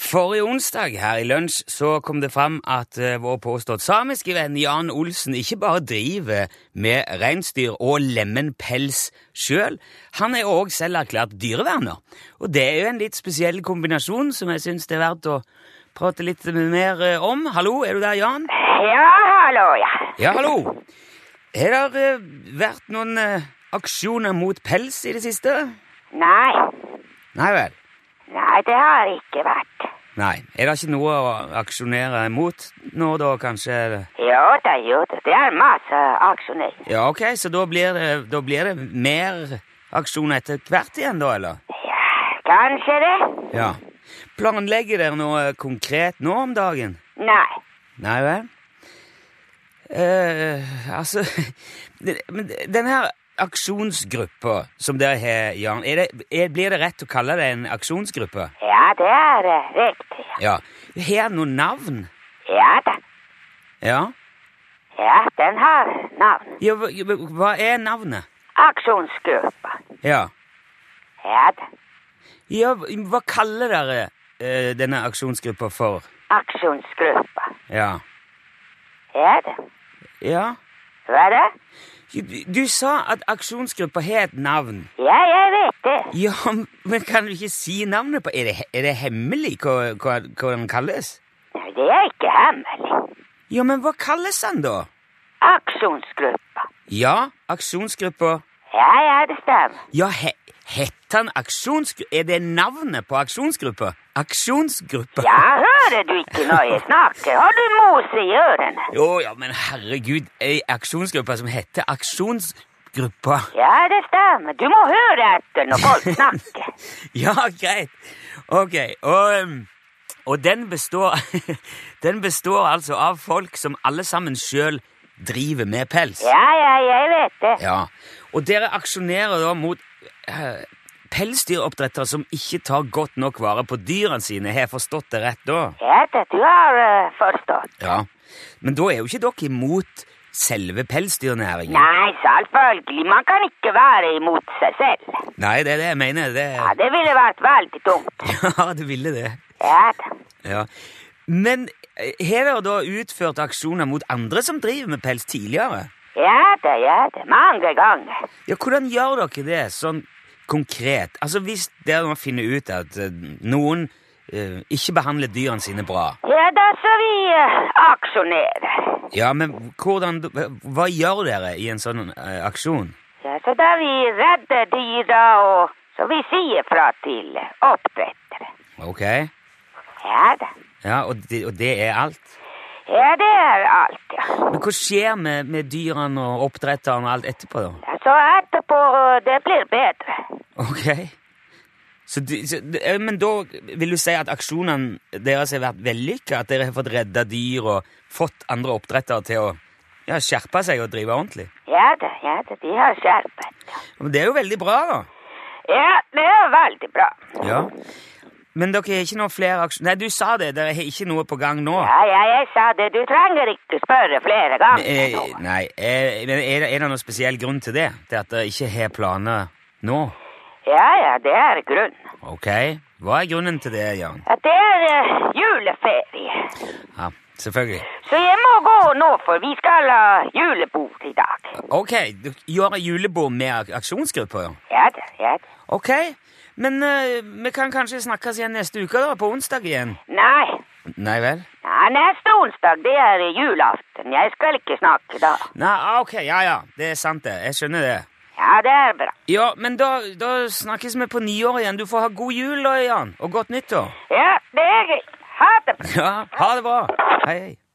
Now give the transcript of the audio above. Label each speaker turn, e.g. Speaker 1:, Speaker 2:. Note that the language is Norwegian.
Speaker 1: Forrige onsdag her i lunsj så kom det fram at eh, vår påstått samiske venn Jan Olsen ikke bare driver med reinsdyr og lemenpels sjøl, han er òg selv erklært dyreverner. Og det er jo en litt spesiell kombinasjon som jeg syns det er verdt å prate litt mer eh, om. Hallo, er du der, Jan?
Speaker 2: Ja, hallo, ja.
Speaker 1: Ja, hallo! Har det eh, vært noen eh, aksjoner mot pels i det siste?
Speaker 2: Nei,
Speaker 1: Nei vel.
Speaker 2: nei, det har ikke vært.
Speaker 1: Nei. Er det ikke noe å aksjonere mot nå, da, kanskje? eller?
Speaker 2: Jo da, jo da, det er masse aksjoner.
Speaker 1: Ja, ok, så da blir det, da blir det mer aksjon etter hvert igjen da, eller?
Speaker 2: Ja, kanskje det?
Speaker 1: Ja. Planlegger dere noe konkret nå om dagen?
Speaker 2: Nei.
Speaker 1: Nei vel? Eh, altså, det- men denne her aksjonsgruppa som dere har, Jan, er det, er, blir det rett å kalle det en aksjonsgruppe?
Speaker 2: Ja, det er eh, riktig. ja.
Speaker 1: Ja. Har den noe navn?
Speaker 2: Ja da,
Speaker 1: Ja.
Speaker 2: ja, den har navn.
Speaker 1: ja. hva- Hva er navnet?
Speaker 2: Aksjonsgruppa.
Speaker 1: Ja.
Speaker 2: Ja da,
Speaker 1: Ja, hva kaller dere eh, denne aksjonsgruppa for?
Speaker 2: aksjonsgruppa.
Speaker 1: Ja.
Speaker 2: Ja da.
Speaker 1: Ja.
Speaker 2: Hva da?
Speaker 1: Du du sa at aksjonsgruppa har et navn.
Speaker 2: Ja, jeg vet det.
Speaker 1: Ja, men kan du ikke si navnet på Er det, he- er det hemmelig hva, hva, hva den kalles?
Speaker 2: Nei, Det er ikke hemmelig.
Speaker 1: Ja, men hva kalles den, da?
Speaker 2: Aksjonsgruppa.
Speaker 1: Ja, aksjonsgruppa
Speaker 2: Ja, ja, det stemmer.
Speaker 1: Ja, he, heter den aksjonsgruppa? Er det navnet på aksjonsgruppa? Aksjonsgruppa?
Speaker 2: Ja, hører du ikke når jeg snakker? Har du mos i ørene?
Speaker 1: Jo, ja, men herregud, ei aksjonsgruppe som heter Aksjonsgruppa.
Speaker 2: Ja, det stemmer. Du må høre etter når folk snakker.
Speaker 1: Ja, greit. Ok, og, um, og den, består, den består altså av folk som alle sammen sjøl driver med pels.
Speaker 2: Ja, ja, jeg vet det.
Speaker 1: Ja. Og dere aksjonerer da mot eh, pelsdyroppdrettere som ikke tar godt nok vare på dyrene sine. Har jeg forstått det rett da?
Speaker 2: Ja, det du har eh, forstått.
Speaker 1: Ja. Men da er jo ikke dere imot selve pelsdyrnæringen.
Speaker 2: Nei, selvfølgelig. Man kan ikke være imot seg selv.
Speaker 1: Nei, det er det jeg mener. Det,
Speaker 2: Ja, det ville vært veldig dumt.
Speaker 1: ja, det ville det.
Speaker 2: Ja, da.
Speaker 1: Ja. Men eh, har dere da utført aksjoner mot andre som driver med pels tidligere?
Speaker 2: Ja, da, ja, da. Mange ganger.
Speaker 1: Ja, hvordan gjør dere det sånn konkret? Altså hvis dere nå finner ut at eh, noen eh, ikke behandler dyrene sine bra,
Speaker 2: Ja, da, så vi eh, aksjonerer.
Speaker 1: ja, men hvordan, hva gjør dere i en sånn eh, aksjon?
Speaker 2: Ja, så da vi redder dyra og så vi sier fra til oppdrettere.
Speaker 1: Ok?
Speaker 2: Ja, da.
Speaker 1: Ja, og det, og det er alt?
Speaker 2: Ja, det er alt, ja.
Speaker 1: Men hva skjer med, med dyrene og oppdretteren og alt etterpå da?
Speaker 2: Ja, Så etterpå eh, det blir bedre.
Speaker 1: Ok? Så, du- så, eh, men da vil du si at aksjonene deres har vært vellykka? At dere har fått redda dyr og fått andre oppdrettere til å ja, skjerpe seg og drive ordentlig?
Speaker 2: Ja da, ja da, de har skjerpet.
Speaker 1: Men det er jo veldig bra, da.
Speaker 2: Ja, det er veldig bra.
Speaker 1: Ja. Men dere har ikke noen flere aksjoner Nei, du sa det. Dere har ikke noe på gang nå.
Speaker 2: Ja, ja, jeg sa det, du trenger ikke spørre flere ganger
Speaker 1: Eh,
Speaker 2: nå.
Speaker 1: Nei, eh, men er det, er det noen spesiell grunn til det? Til at dere ikke har planer nå?
Speaker 2: Ja, ja, det er grunnen.
Speaker 1: Ok. Hva er grunnen til det, Jan?
Speaker 2: At det er eh, juleferie.
Speaker 1: Ja, selvfølgelig.
Speaker 2: Så jeg må gå nå, for vi skal ha julebord i dag.
Speaker 1: Ok, du gjør julebord med ak- aksjonsgrupper, ja.
Speaker 2: Ja da, ja da.
Speaker 1: Ok, men eh, vi kan kanskje snakkes igjen neste uke, da? På onsdag igjen?
Speaker 2: Nei,
Speaker 1: Nei vel?
Speaker 2: nei, neste onsdag, det er julaften. Jeg skal ikke snakke da.
Speaker 1: Nei, ah, ok, ja ja. Det er sant, det. Jeg skjønner det.
Speaker 2: Ja, det er bra.
Speaker 1: Ja, men da, da snakkes vi på nyår igjen. Du får ha god jul, da, Jan. Og godt nyttår.
Speaker 2: Ja, det er greit. Ha det bra.
Speaker 1: Ja, ha det bra. Hei, hei.